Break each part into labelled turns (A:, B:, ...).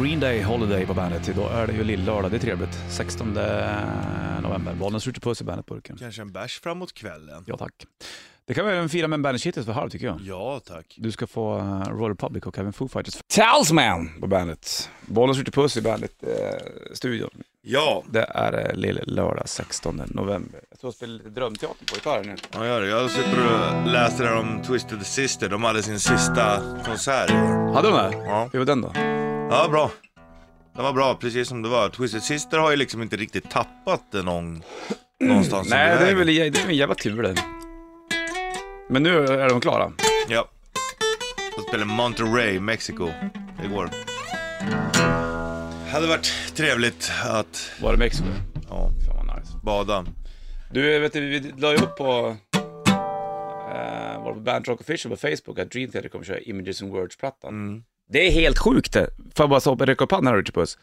A: Green Day Holiday på bandet. Idag är det ju lillördag, det är trevligt. 16 november. Bollnäs skjuter puss i bandetburken.
B: Kanske en bärs framåt kvällen.
A: Ja tack. Det kan vi även fira med en bandit för halv tycker jag.
B: Ja, tack.
A: Du ska få eh, Royal Republic och även Foo Fighters. Talisman på bandet. Bollnäs skjuter puss i bandet-studion.
B: Ja,
A: det är eh, lill-lördag 16 november. Jag tror jag spelar lite drömteater på gitarr nu.
B: jag gör det. Jag sitter och läser här om Twisted Sister. De hade sin sista konsert i år.
A: Hade de det?
B: Ja.
A: Hur var den då?
B: Ja, bra. Det var bra, precis som det var. Twisted Sister har ju liksom inte riktigt tappat det någon, någonstans. i
A: Nej, det är
B: vägen.
A: väl det är en jävla tur det. Men nu är de klara.
B: Ja. Jag spelade Monterrey, Mexiko, igår. Hade varit trevligt att
A: Var det Mexiko?
B: ja,
A: Fan vad nice.
B: bada.
A: Du, vet du, vi la ju upp på, eh, var på Band Rock Official på Facebook att Dream Theater kommer köra Images and Words-plattan. Mm.
B: Mm.
A: Det är helt sjukt det. Får jag bara så- räcka upp handen här Richard Puss.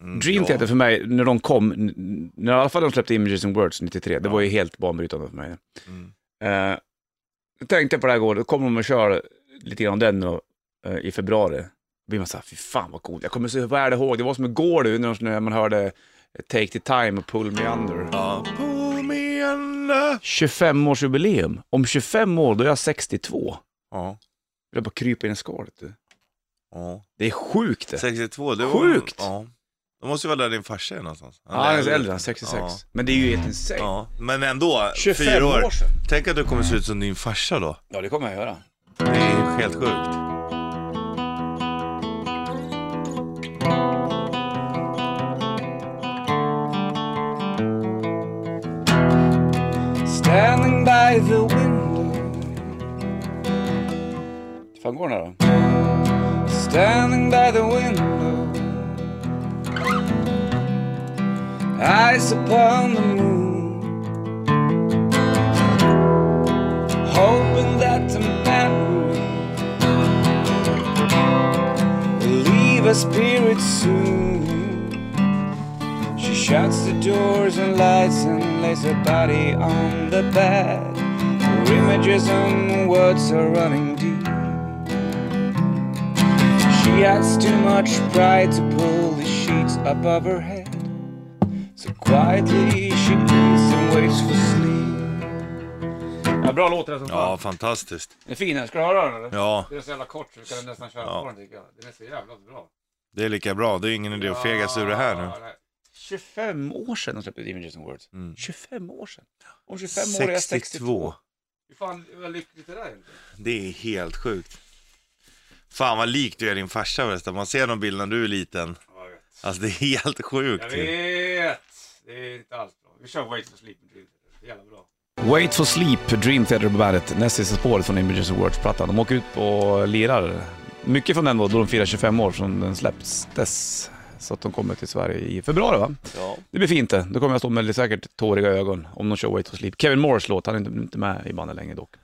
A: Dream
B: Mm, ja.
A: Theater för mig, när de kom, n- n- när i alla fall de släppte Images and Words 93, det var ju helt banbrytande för mig. Eh, då tänkte jag på det här igår, då kommer de och kör lite grann den då, eh, i februari. Då blir man såhär, fy fan vad coolt. Jag kommer så väl ihåg, det var som igår du, när de- när man hörde Take the time och Pull me under.
B: Ja. Pull me under.
A: 25-årsjubileum. Om 25 år, då är jag 62.
B: Ja.
A: Jag bara krypa in i skalet. du.
B: ja.
A: Det är sjukt det.
B: 62, det var...
A: Sjukt!
B: Ja. Då måste ju vara där din farsa är någonstans.
A: Ja, han är äldre, han är 66.
B: Ja.
A: Men det är ju helt insane.
B: Ja, men ändå,
A: 25
B: fyra år.
A: år sedan.
B: Tänk att du kommer se ut som din farsa då.
A: Ja, det kommer jag göra.
B: Det är helt sjukt.
A: Standing by the window. Hur fan går den här då? Standing by the window. Eyes upon the moon. Hoping that the memory will leave her spirit soon. She shuts the doors and lights and lays her body on the bed. Her images and words are running deep. She has too much pride to pull the sheets above her head. So quietly she eats and waits for sleep. Ja, bra låt den som
B: Ja, fantastiskt.
A: Den är fin den, ska du höra den eller?
B: Ja,
A: är så jävla kort så du kan nästan köra
B: Ja. på
A: den tycker jag. Den är så jävla bra.
B: det är lika bra. Det är ingen idé att fega sig ur det här nu.
A: 25 år sedan de släppte Images and Words.
B: Mm.
A: 25 år sedan. Om 25 år är jag 62.
B: 62.
A: Hur fan vad lyckligt det där är inte?
B: Det är helt sjukt. Fan vad lik du är din farsa förresten. Man ser de bilderna när du är liten.
A: jag vet.
B: Alltså det är helt
A: Jag
B: sjukt. ju.
A: vet! Det är inte alls bra. Vi kör Wait for Sleep med Dream Theater. Det är jävla bra. Wait for Sleep, Dream Theater på bandet. Näst sista spåret från Images and Words-plattan. De åker ut och lirar. Mycket från den då, då de firar 25 år från den släpptes. Så att de kommer till Sverige i februari va?
B: Ja.
A: Det blir fint det. Då kommer jag stå med lite säkert tåriga ögon om de kör Wait for Sleep. Kevin Morris låt, han är inte, inte med i bandet längre dock.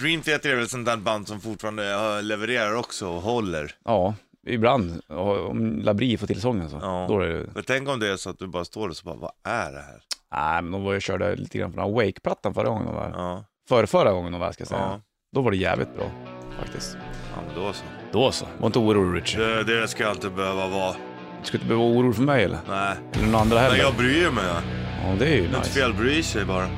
B: Dream Theater är väl ett sånt där band som fortfarande eh, levererar också och håller.
A: Ja, ibland. Ja, Om Labri får till sången så.
B: Ja.
A: Då är det...
B: Men tänk om det är så att du bara står och så bara, vad är det här?
A: Nej, men de var ju körda lite grann på den här Wake-plattan förra gången de var här.
B: Ja,
A: Förra, förra gången de var här, ska jag säga.
B: Ja.
A: Då var det jävligt bra faktiskt.
B: ja men då så.
A: Då så. Var inte orolig Richard.
B: Det, det ska jag inte behöva vara.
A: Du ska inte behöva vara orolig för mig eller?
B: Nej.
A: Eller någon andra heller.
B: Men jag bryr mig. ja.
A: Ja, det är ju
B: Det är inte
A: nice.
B: fel, bryr sig bara.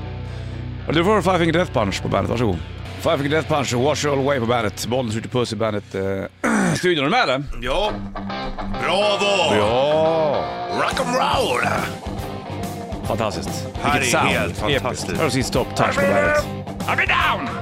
A: Ja, Du får Five Finger Death Punch på bandet, varsågod. Five Finger Death Punch, Wash All Away på bandet. Bollen skjuter puss i bandet. Eh, studion, är du med eller?
B: Ja, bravo!
A: Ja!
B: Rock'n'roll!
A: Fantastiskt.
B: Här
A: Vilket
B: är
A: sound.
B: helt fantastiskt.
A: Episkt. Här har sist Top Touch på bandet.
B: Up and down!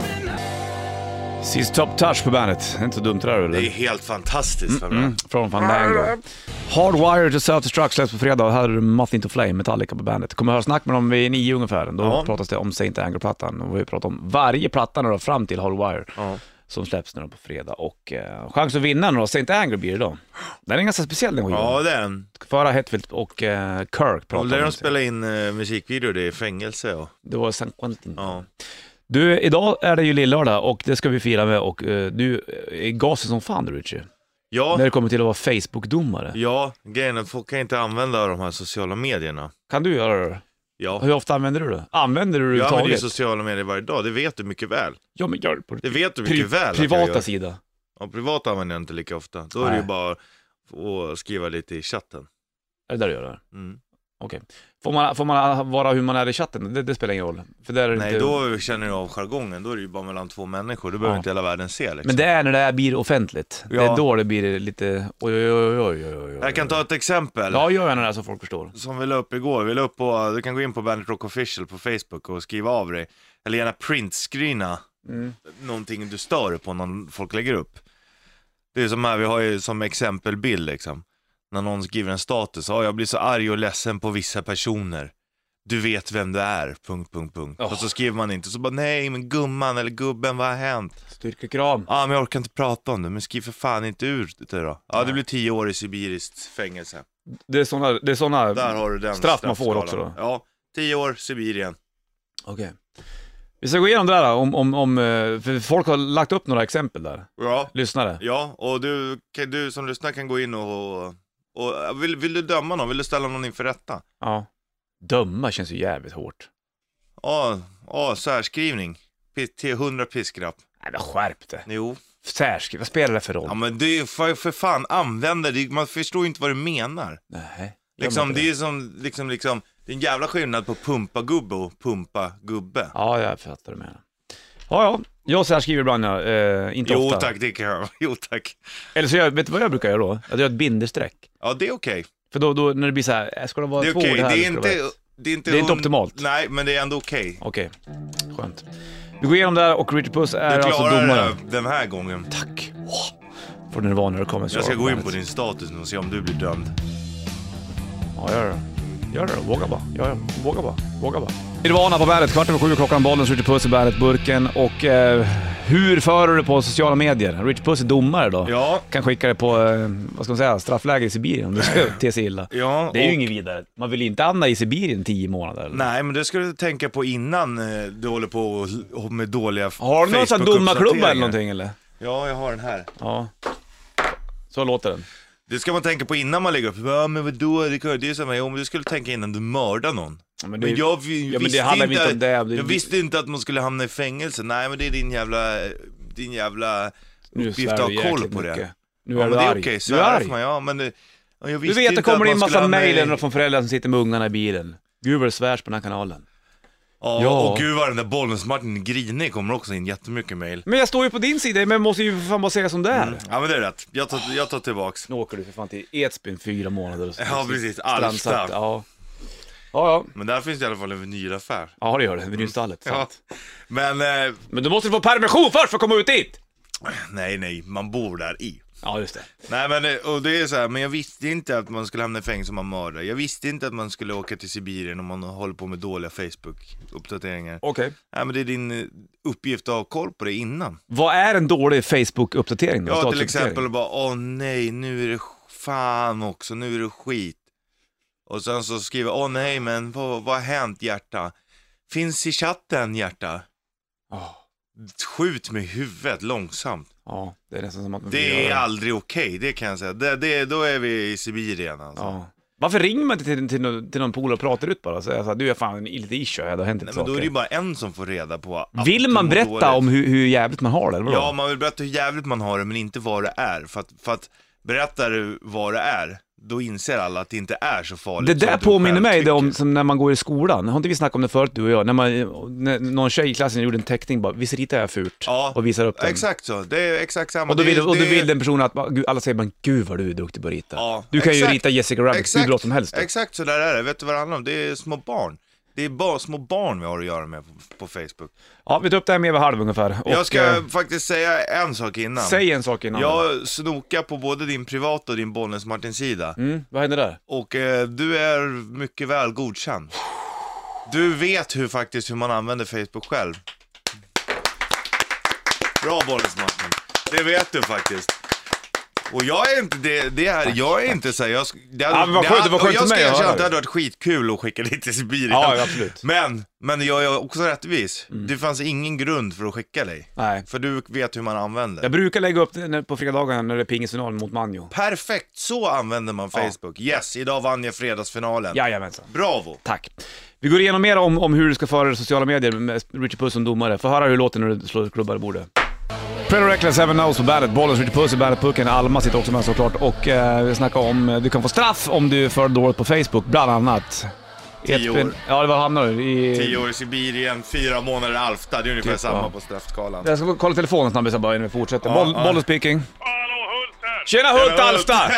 A: Sist Top Touch på bandet. Det är inte så dumt det där eller?
B: Det är helt fantastiskt för mig.
A: Från Fandango. Hardwire to Self Destruct släpps på fredag. Här är det Muffin to Flame, Metallica på bandet. Kommer höra snack med dem vid nio ungefär. Då
B: Ja.
A: pratas det om Saint Anger-plattan. Och vi pratar om varje platta nu då, fram till Hardwire.
B: Ja.
A: Som släpps nu då på fredag. Och eh, chans att vinna nu då, Saint Anger blir det då. Den är ganska speciell den skivan.
B: Ja, det är den.
A: Föra Hetfield och eh, Kirk pratar
B: Och där
A: om
B: de
A: det.
B: spelar in eh, musikvideor, det är fängelse och...
A: Det var San Quentin.
B: Ja.
A: Du, idag är det ju lillördag och det ska vi fira med och eh, du är gasig som fan du Richie.
B: Ja,
A: När det kommer till att vara Facebook-domare.
B: ja, grejen är att folk kan inte använda de här sociala medierna.
A: Kan du göra det?
B: Ja,
A: Hur ofta använder du det? Använder du det
B: jag använder ju
A: överhuvudtaget?
B: sociala medier varje dag, det vet du mycket väl.
A: Ja, men gör det på
B: Det
A: din
B: vet du mycket
A: pri-
B: väl att jag
A: privata
B: gör.
A: sida.
B: Ja, privat använder jag inte lika ofta. Då är det ju
A: Nej.
B: bara och skriva lite i chatten.
A: Är det där du gör det?
B: Mm.
A: Får man, får man vara hur man är i chatten? Det, det spelar ingen roll. För där är det
B: Nej,
A: inte...
B: då känner jag av jargongen. Då är det ju bara mellan två människor. Då behöver
A: Ja.
B: inte hela världen se liksom.
A: Men det är när det här blir offentligt. Det är
B: Ja.
A: då det blir lite... Oj, oj, oj, oj, oj, oj.
B: Jag kan ta ett exempel.
A: Ja, gör gärna det här så folk förstår.
B: Som vi la upp igår. Vi la upp på, du kan gå in på Bandit Rock Official på Facebook och skriva av dig. Eller gärna printscreena
A: Mm.
B: någonting du stör på någon folk lägger upp. Det är som här, vi har ju som exempelbild liksom. När någon skriver en status, ja jag blir så arg och ledsen på vissa personer. Du vet vem du är, punkt, punkt, punkt.
A: Åh.
B: Och så skriver man inte, så bara nej men gumman eller gubben, vad har hänt?
A: Styrkekram.
B: Ja, men jag orkar inte prata om det, men skriv för fan inte ur det då. Ja, det blir tio år i sibiriskt fängelse.
A: Det är såna... Det är såna...
B: Där har du den
A: Straff man får
B: straffskalan.
A: också då.
B: Ja, tio år, Sibirien.
A: Okej. Vi ska gå igenom det där om, om, om... eh, För folk har lagt upp några exempel där.
B: Ja,
A: Lyssnare.
B: ja och du, kan- du som lyssnar kan gå in och... och vill, vill du döma någon? Vill du ställa någon inför rätta?
A: Ja. Döma känns ju jävligt hårt.
B: Ja, ja särskrivning. P- Till 100 piskrapp.
A: Nej, men skärp det.
B: Jo.
A: Särskriv, vad spelar det för roll?
B: Ja, men det är ju för, för fan användare, det- man förstår ju inte vad du menar.
A: Nej. gör man
B: Liksom,
A: inte
B: det är som, liksom, liksom, det är en jävla skillnad på pumpagubbe och pumpagubbe.
A: Ja, jag fattar vad du menar. Ja, ja. Jag särskriver ibland, ja. Eh, inte
B: Jo
A: ofta.
B: tack, det kan jag. Jo tack.
A: Eller så, jag, vet du vad jag brukar göra då? Att jag gör ett binderstreck.
B: Ja, det är okej.
A: För då, då när det blir så här, äh, ska det vara
B: Det är
A: två
B: okej.
A: ord här?
B: Det, är
A: eller ska det vara
B: inte...
A: ett?
B: Det är inte,
A: Det är inte
B: hund-
A: optimalt.
B: Nej, men det är ändå okej.
A: Okej, skönt. Vi går igenom det här och Richard Puss är
B: Du
A: alltså
B: klarar
A: domare.
B: det den här gången.
A: Tack. Åh. Får du nirvana när det kommer. så
B: Jag ska gå in på
A: ordentligt.
B: din status nu och se om du blir dömd.
A: Ja, gör det. Gör det då. Våga bara. Gör det. Våga bara. Våga bara. Nirvana på bandet, kvart över sju klockan, bollen, Richard Puss i bandet-burken och eh, hur för du på sociala medier? Richard Puss är domare då.
B: Ja,
A: Kan skicka dig på, eh, vad ska man säga, straffläger i Sibirien om du ska te sig illa.
B: ja.
A: Det är ju
B: och-
A: inget vidare. Man vill inte hamna i Sibirien tio månader. Eller?
B: Nej, men det ska du tänka på innan eh, du håller på och- och med dåliga
A: Har du någon sån här domarklubba
B: Facebook-uppdateringar.
A: eller någonting eller?
B: Ja, jag har den här.
A: Ja. Så låter den.
B: Det ska man tänka på innan man lägger upp. Ja, men vadå? Det kan- det är som, om du skulle tänka innan du mördar någon.
A: Ja, men det,
B: Men jag
A: ja,
B: vi-
A: men det
B: visste
A: handlar
B: inte,
A: inte om det.
B: Jag
A: Det-
B: visste inte att man skulle hamna i fängelse. Nej, men det är din jävla, din jävla
A: nu
B: uppgift
A: svär
B: att ha
A: du
B: koll
A: jäkligt
B: på det.
A: mycket. Nu
B: Ja,
A: är
B: men
A: du
B: det är
A: arg.
B: okej,
A: du är
B: svära
A: arg.
B: får man ja, men det, ja, jag
A: Du
B: visste
A: vet, det
B: inte att
A: kommer in
B: man skulle
A: massa
B: hamna i-
A: mejl från föräldrar som sitter med ungarna i bilen. Gud vad det svärs på den här kanalen.
B: Ja,
A: Ja.
B: och gud vad den där Bollnäs-Martin är grinig kommer också in jättemycket mejl.
A: Men jag står ju på din sida, men jag måste ju för fan bara säga som det är.
B: Ja men det är rätt, jag tar, jag tar tillbaks.
A: Mm. Nu åker du för fan till Edsbyn fyra månader och så.
B: Ja precis,
A: Strandsatt,
B: Alfta.
A: Ja. ja, ja.
B: Men där finns det i alla fall en vinylaffär.
A: Ja, det gör det. Vinynstallet.
B: Ja.
A: sant.
B: Men eh,
A: Men du måste få permission först för att komma ut dit!
B: nej nej, man bor där i.
A: Ja, just det.
B: Nej men eh, och det är så här, men jag visste inte att man skulle hamna i fängelse om man mördar. Jag visste inte att man skulle åka till Sibirien om man håller på med dåliga Facebook-uppdateringar.
A: Okej.
B: Nej men det är din eh, uppgift att ha koll på det innan.
A: Vad är en dålig Facebook-uppdatering då?
B: Ja till
A: Statusuppdatering?
B: exempel bara, åh nej nu är det sk- fan också, nu är det skit. Och sen så skriver, åh nej men vad, vad har hänt hjärta? Finns i chatten hjärta.
A: Ja.
B: Skjut med huvudet långsamt.
A: Ja, det är nästan som att man vill
B: Det är
A: göra
B: aldrig okej, det kan jag säga. Det, det, då är vi i Sibirien alltså.
A: Ja. Varför ringer man inte till, till, någon- till någon polare och pratar ut bara? Så jag sa, du jag är fan lite ishy, det har hänt lite
B: Nej, men då är
A: saker.
B: det ju bara en som får reda på att
A: Vill
B: du
A: man
B: mår
A: berätta
B: dåligt.
A: om hur, hur jävligt man har det? Eller vadå?
B: Ja, man vill berätta hur jävligt man har det, men inte vad det är. För att, för att berättar du vad det är, då inser alla att det inte är så farligt
A: det
B: som
A: där
B: du
A: påminner
B: själv
A: mig det om
B: tycker.
A: som när man går i skolan. Har inte vi snackat om det förut, du och jag? När, man, när någon tjej i klassen gjorde en teckning bara, visst ritar jag fult?
B: Ja,
A: och visar upp den.
B: Exakt så, det är exakt samma.
A: Och då
B: Det är-
A: vill, och då
B: det är-
A: vill den personen att, bara, "Gud," alla säger bara, gud vad du är duktig på att rita.
B: Ja,
A: du kan ju
B: exakt.
A: rita Jessica Rabbit hur bra som helst. då.
B: Exakt så där är det, vet du vad det handlar om? Det är små barn. Det är bara små barn vi har att göra med på, på Facebook.
A: Ja, vi tar upp det här med vid halv ungefär. Och,
B: jag ska
A: eh,
B: faktiskt säga en sak innan.
A: säg en sak innan.
B: jag snokar på både din privata och din Bollnäs-Martin-sida.
A: Mm, vad hände där?
B: Och eh, du är mycket väl godkänd. Du vet hur faktiskt hur man använder Facebook själv. Bra Bollnäs Martin. Det vet du faktiskt. Och jag är inte, det, det här, jag är inte såhär, jag, sk- det hade,
A: Ja, men vad skönt,
B: hade-
A: vad skönt
B: och
A: för
B: jag ska
A: mig att
B: erkänna
A: höra
B: att det
A: det.
B: hade varit skitkul att skicka dit till Sibirien.
A: Ja, ja, absolut. Mm.
B: Men, men jag är också rättvis. Det fanns ingen grund för att skicka dig.
A: Nej.
B: För du vet hur man använder.
A: Jag brukar lägga upp det när- på fredagarna när det är pingisfinal mot Manjo.
B: Perfekt, så använder man Facebook. Yes, idag vann jag fredagsfinalen.
A: Jajamensan.
B: Bravo!
A: Tack. Vi går igenom mer om, om hur du ska föra dig i sociala medier med Richard Puss som domare. Få höra hur det låter när du slår klubbar i bordet.
C: We're
A: Pretty Reckless, Seven Knows på bandet. Bollens Ritchie Puss i bandetpucken. Alma sitter också med såklart. Och eh, vi snackar om, eh, du kan få straff om du är för dåligt på Facebook, bland annat.
B: Tio år.
A: Ja, det var hamnar du i...
B: Tio år i Sibirien, fyra månader i Alfta. Det är ungefär
A: Typ,
B: samma
A: ja.
B: på straffskalan.
A: Jag ska kolla telefonen snabbt bara innan vi fortsätter.
B: Ja,
A: Boll,
B: ja.
A: Bollens speaking.
C: Hallå Hult här!
A: Tjena Hult Alfta!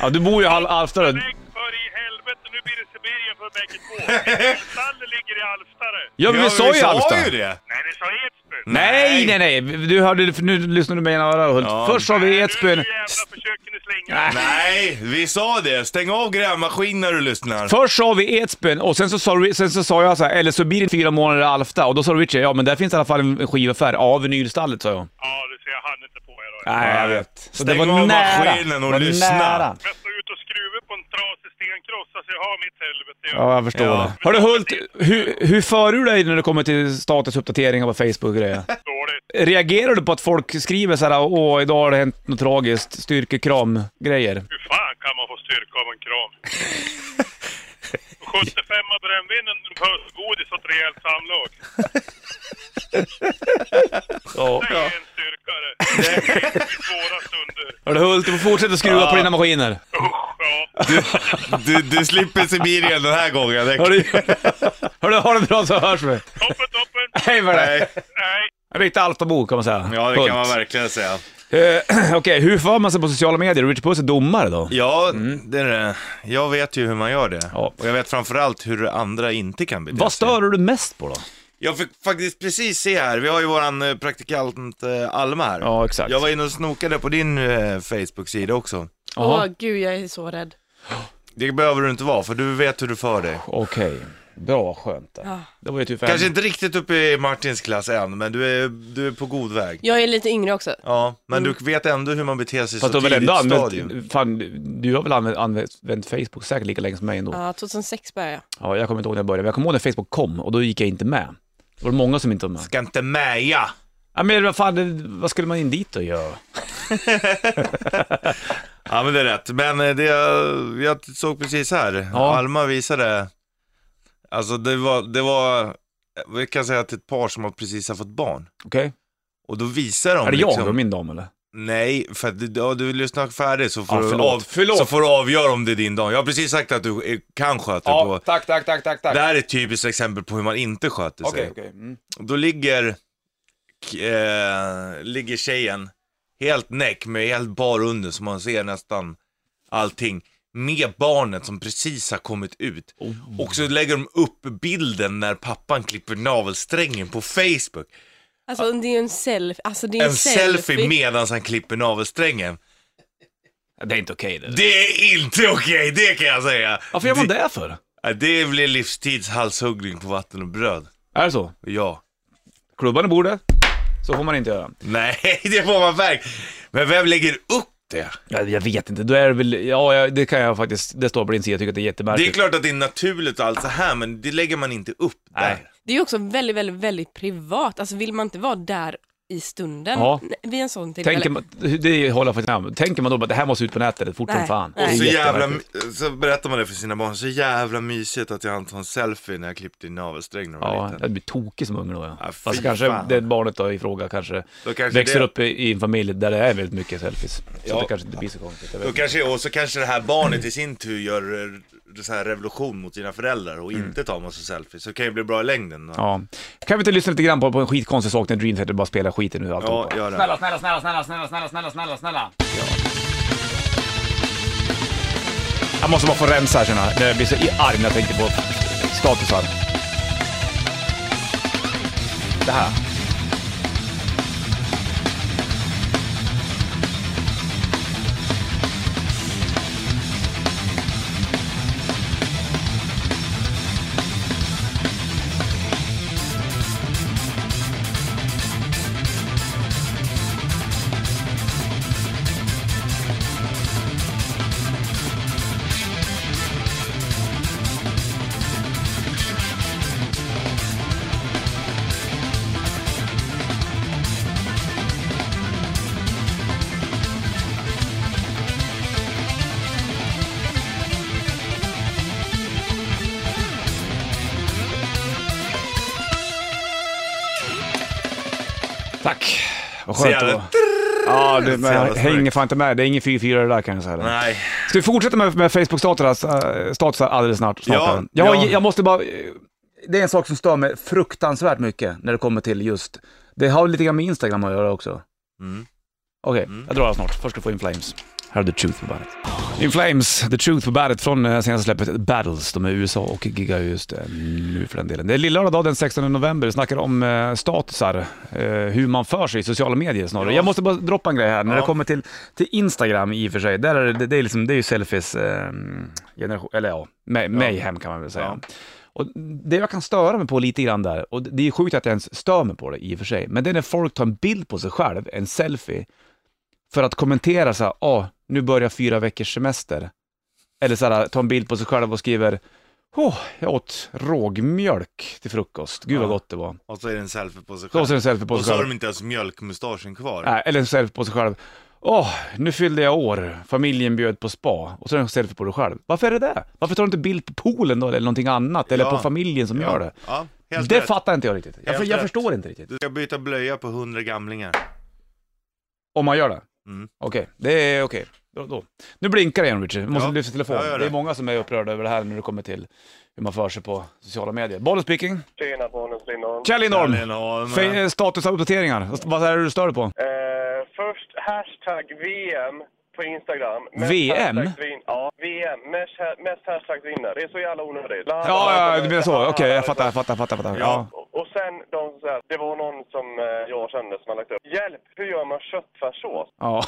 A: Ja, du bor ju i Al- Alfta du.
C: Lägg för i helvete, nu blir det Sibirien för bägge två. Älgstallet ligger i Alftare.
A: Ja, men vi sa ju Alfta.
B: ju det!
C: Nej, vi sa Edsbyn.
A: Nej, nej, nej. Du hörde, nu lyssnar du med ena örat Hult.
B: Ja.
A: Först sa vi Edsbyn.
C: Nu jävla försöker ni slänga.
A: Nej.
B: Nej, vi sa det. Stäng av grävmaskinen när du lyssnar.
A: Först sa vi Edsbyn och sen så sa, du- sen så sa jag så här, eller så blir det fyra månader i Alfta. Och då sa Richard, ja men där finns i alla fall en skivaffär. Ja, vinylstallet sa jag.
C: Ja, du ser, jag hann inte på er då.
A: Nej, jag vet. Så det var
B: Stäng av
A: nära.
B: maskinen och
A: Det var
B: lyssna.
A: nära.
C: Jag står ute och skruvar på en trasig stenkross, alltså jag har mitt helvete.
A: Ja, jag förstår
B: Ja.
A: det. Hörru Hult, hur, hur för du dig när det kommer till statusuppdateringar på Facebook och grejer?
C: Dåligt.
A: Reagerar du på att folk skriver så här, åh idag har det hänt något tragiskt, styrkekram-grejer?
C: Hur fan kan man få styrka av en kran? 75 av brännvinen, pösgodis och ett rejält samlag.
A: Ja.
C: Det är en styrkare. Det är i svåra stunder.
A: Hörru Hult, du får fortsätta skruva på dina maskiner.
C: Usch, ja.
B: Du, du slipper Sibirien den här gången. Det-
A: Hörru, hörru ha det bra så hörs vi.
C: Toppen, toppen!
A: Hej för dig.
B: Nej.
C: Nej.
A: En riktig Alftabo kan man säga.
B: Ja, det
A: Hult.
B: kan man verkligen säga.
A: Eh, Okej, hur för man sig på sociala medier? Richard Puss är domare då?
B: Ja, Mm. det är det. Jag vet ju hur man gör det.
A: Ja.
B: Och jag vet framförallt hur andra inte kan bete
A: Vad
B: sig.
A: stör du mest på då?
B: Jag fick faktiskt precis se här, vi har ju våran eh, praktikant eh, Alma här.
A: Ja, exakt.
B: Jag var inne och snokade på din eh, Facebook-sida också.
A: Jaha.
D: Åh gud, jag är så rädd.
B: Det behöver du inte vara, för du vet hur du för dig.
A: Okej, bra skönt det.
D: Ja.
A: Det var ju typ
B: Kanske
A: en...
B: inte riktigt uppe i Martins klass än, men du är, du är på god väg.
D: Jag är lite yngre också.
B: Ja, men du vet ändå hur man beter sig
A: Mm. Fast du
B: så
A: har väl
B: tidigt
A: ändå
B: stadium.
A: använt, fan, du har väl använt, använt Facebook säkert lika länge som mig ändå?
D: Ja, 2006 började jag.
A: Ja, jag kommer inte ihåg när jag började, men jag kommer ihåg när Facebook kom och då gick jag inte med. Det var många som inte var med.
B: Ska inte meja!
A: Ja, men vad fan, det- vad skulle man in dit och göra?
B: Ja, men det är rätt. Men eh, det jag såg precis här,
A: Ja.
B: Alma visade, alltså det var, det var, vi kan säga att ett par som har precis har fått barn.
A: Okej?
B: Och då visar de
A: Är det jag
B: liksom...
A: och min dam eller?
B: Nej, för att du, ja, du lyssnar färdigt så får,
A: Ja,
B: du
A: förlåt.
B: av,
A: Förlåt.
B: så får du avgöra om det är din dag. Jag har precis sagt att du eh, kan sköta på.
A: tack, tack, tack, tack,
B: Det här är ett typiskt exempel på hur man inte sköter sig.
A: okej. Mm.
B: Då ligger, k- eh, ligger tjejen helt näck med helt bar under så man ser nästan allting. Med barnet som precis har kommit ut. Och så lägger de upp bilden när pappan klipper navelsträngen på Facebook.
D: Alltså det är ju en selfie. Alltså det är
B: En selfie medan han klipper navelsträngen.
A: Det är inte okej det.
B: Det är inte okej, det kan jag säga.
A: Varför gör man det för?
B: Ja, Det blir livstids halshuggning på vatten och bröd.
A: Är det så?
B: Ja.
A: Klubban i bordet, så får man inte göra.
B: Nej, det får man verkligen. Men vem lägger upp det?
A: Ja, jag vet inte, då är det väl, ja jag- det kan jag faktiskt, det står på din sida, jag tycker att det är
B: Det är
A: jättemärkligt.
B: klart att det är naturligt och allt så här, men det lägger man inte upp där.
A: Nej.
D: Det är ju också väldigt, väldigt, väldigt privat. Alltså vill man inte vara där i stunden
A: Ja.
D: Nej, vid en sån typ. tillfälle.
A: Tänker man, det håller jag faktiskt med om. Tänker man då att det här måste ut på nätet fort som
D: Nej.
A: fan.
D: Och
A: Det är
B: Så jävla,
A: jättemärkligt.
B: så berättar man det för sina barn, så jävla mysigt att jag inte tog en selfie när jag klippte i navelsträng när jag var
A: Ja,
B: liten.
A: jag blir tokig som unge då. Ja.
B: Ja, fy
A: Fast kanske
B: fan.
A: det barnet då i fråga kanske,
B: Då kanske
A: växer
B: det-
A: upp i, i en familj där det är väldigt mycket selfies. Så
B: Ja.
A: det kanske inte blir så konstigt. Jag vet.
B: Då kanske, och så kanske det här barnet i sin tur gör eh, så här revolution mot sina föräldrar och inte tar massa selfies. Så det kan ju bli bra i längden. va?
A: Mm. Ja. Kan vi inte lyssna lite grann på, på en skitkonstig sak när Dream Theater bara spelar skiten nu alltihopa?
B: Ja, gör det.
A: Snälla, snälla, snälla, snälla, snälla, snälla, snälla, snälla, snälla. Jag måste bara få rensa här känner jag. Jag blir så arg när jag tänker på statusar. Det här. Tack. Vad
B: Så
A: skönt det
B: jävla-
A: var. Ja, det,
B: Så
A: men
B: jävla
A: jag hänger
B: starkt.
A: fan inte med. Det är ingen 4-4 det där kan jag säga. dig.
B: Nej.
A: Ska vi fortsätta med, med Facebook-statusar äh, statusar alldeles snart? snart
B: Ja,
A: här? jag,
B: ja.
A: jag måste bara... eh, Det är en sak som stör mig fruktansvärt mycket när det kommer till just... Det har lite grann med Instagram att göra också.
B: Mm.
A: Okej, jag drar det snart. Först ska du få In Flames. Här är The Truth på bandet. In Flames, The Truth på bandet från eh, senaste släppet Battles. De är i USA och giggar just eh, nu för den delen. Det är lillördag dag, den 16 november. Vi snackar om eh, statusar, eh, hur man för sig i sociala medier snarare.
B: Ja.
A: Jag måste bara droppa en grej här. När
B: Ja.
A: det kommer till, till Instagram i och för sig, där är det, det, är, liksom, det är ju selfies eh, generation, eller ja, may, mayhem kan man väl säga. Och det jag kan störa mig på lite grann där, och det är sjukt att jag ens stör mig på det i och för sig, men det är när folk tar en bild på sig själv, en selfie, för att kommentera så här, ah, nu börjar fyra veckors semester. Eller så här, ta en bild på sig själv och skriver, åh, jag åt rågmjölk till frukost, gud vad
B: Ja.
A: gott det var.
B: Och så är det en selfie på sig
A: Så
B: själv.
A: åt en selfie på
B: Och
A: sig
B: så har
A: själv.
B: de inte ens mjölkmustaschen kvar.
A: Nej, eller en selfie på sig själv. Åh, nu fyllde jag år. Familjen bjöd på spa. Och så en selfie på dig själv. Varför är det det? Varför tar du inte bild på poolen då, eller någonting annat? Eller
B: Ja.
A: på familjen som gör det?
B: Ja, helt
A: Det
B: rätt.
A: fattar inte jag riktigt. Jag,
B: Helt
A: jag
B: rätt.
A: förstår inte riktigt.
B: Du ska byta blöja på hundra gamlingar.
A: Om man gör det?
B: Mm.
A: Okej, det är okej. Då, då. Nu blinkar det igen Richard, vi måste
B: Ja,
A: lyfta telefonen.
B: jag gör
A: Det.
B: det.
A: är många som är upprörda över det här när det kommer till hur man för sig på sociala medier. Bollen speaking.
E: Tjena Bonus Lindholm.
A: Kjell Lindholm!
B: Norm.
A: Fe- Statusuppdateringar. Vad är det du stör dig på?
E: Eh, först hashtag VM på Instagram. Mest
A: VM?
E: hashtag vin- Ja, VM. Mest, ha- mest hashtag vinner. Det är så jävla onödigt.
A: Ja,
E: alltså,
A: ja, du menar så. Okej, jag fattar, jag fattar, jag fattar. jag fattar. Ja.
B: Ja.
E: Och- Och sen de som säger att det var någon som eh, jag kände som har lagt upp. Hjälp, hur gör man köttfärssås?
A: ja.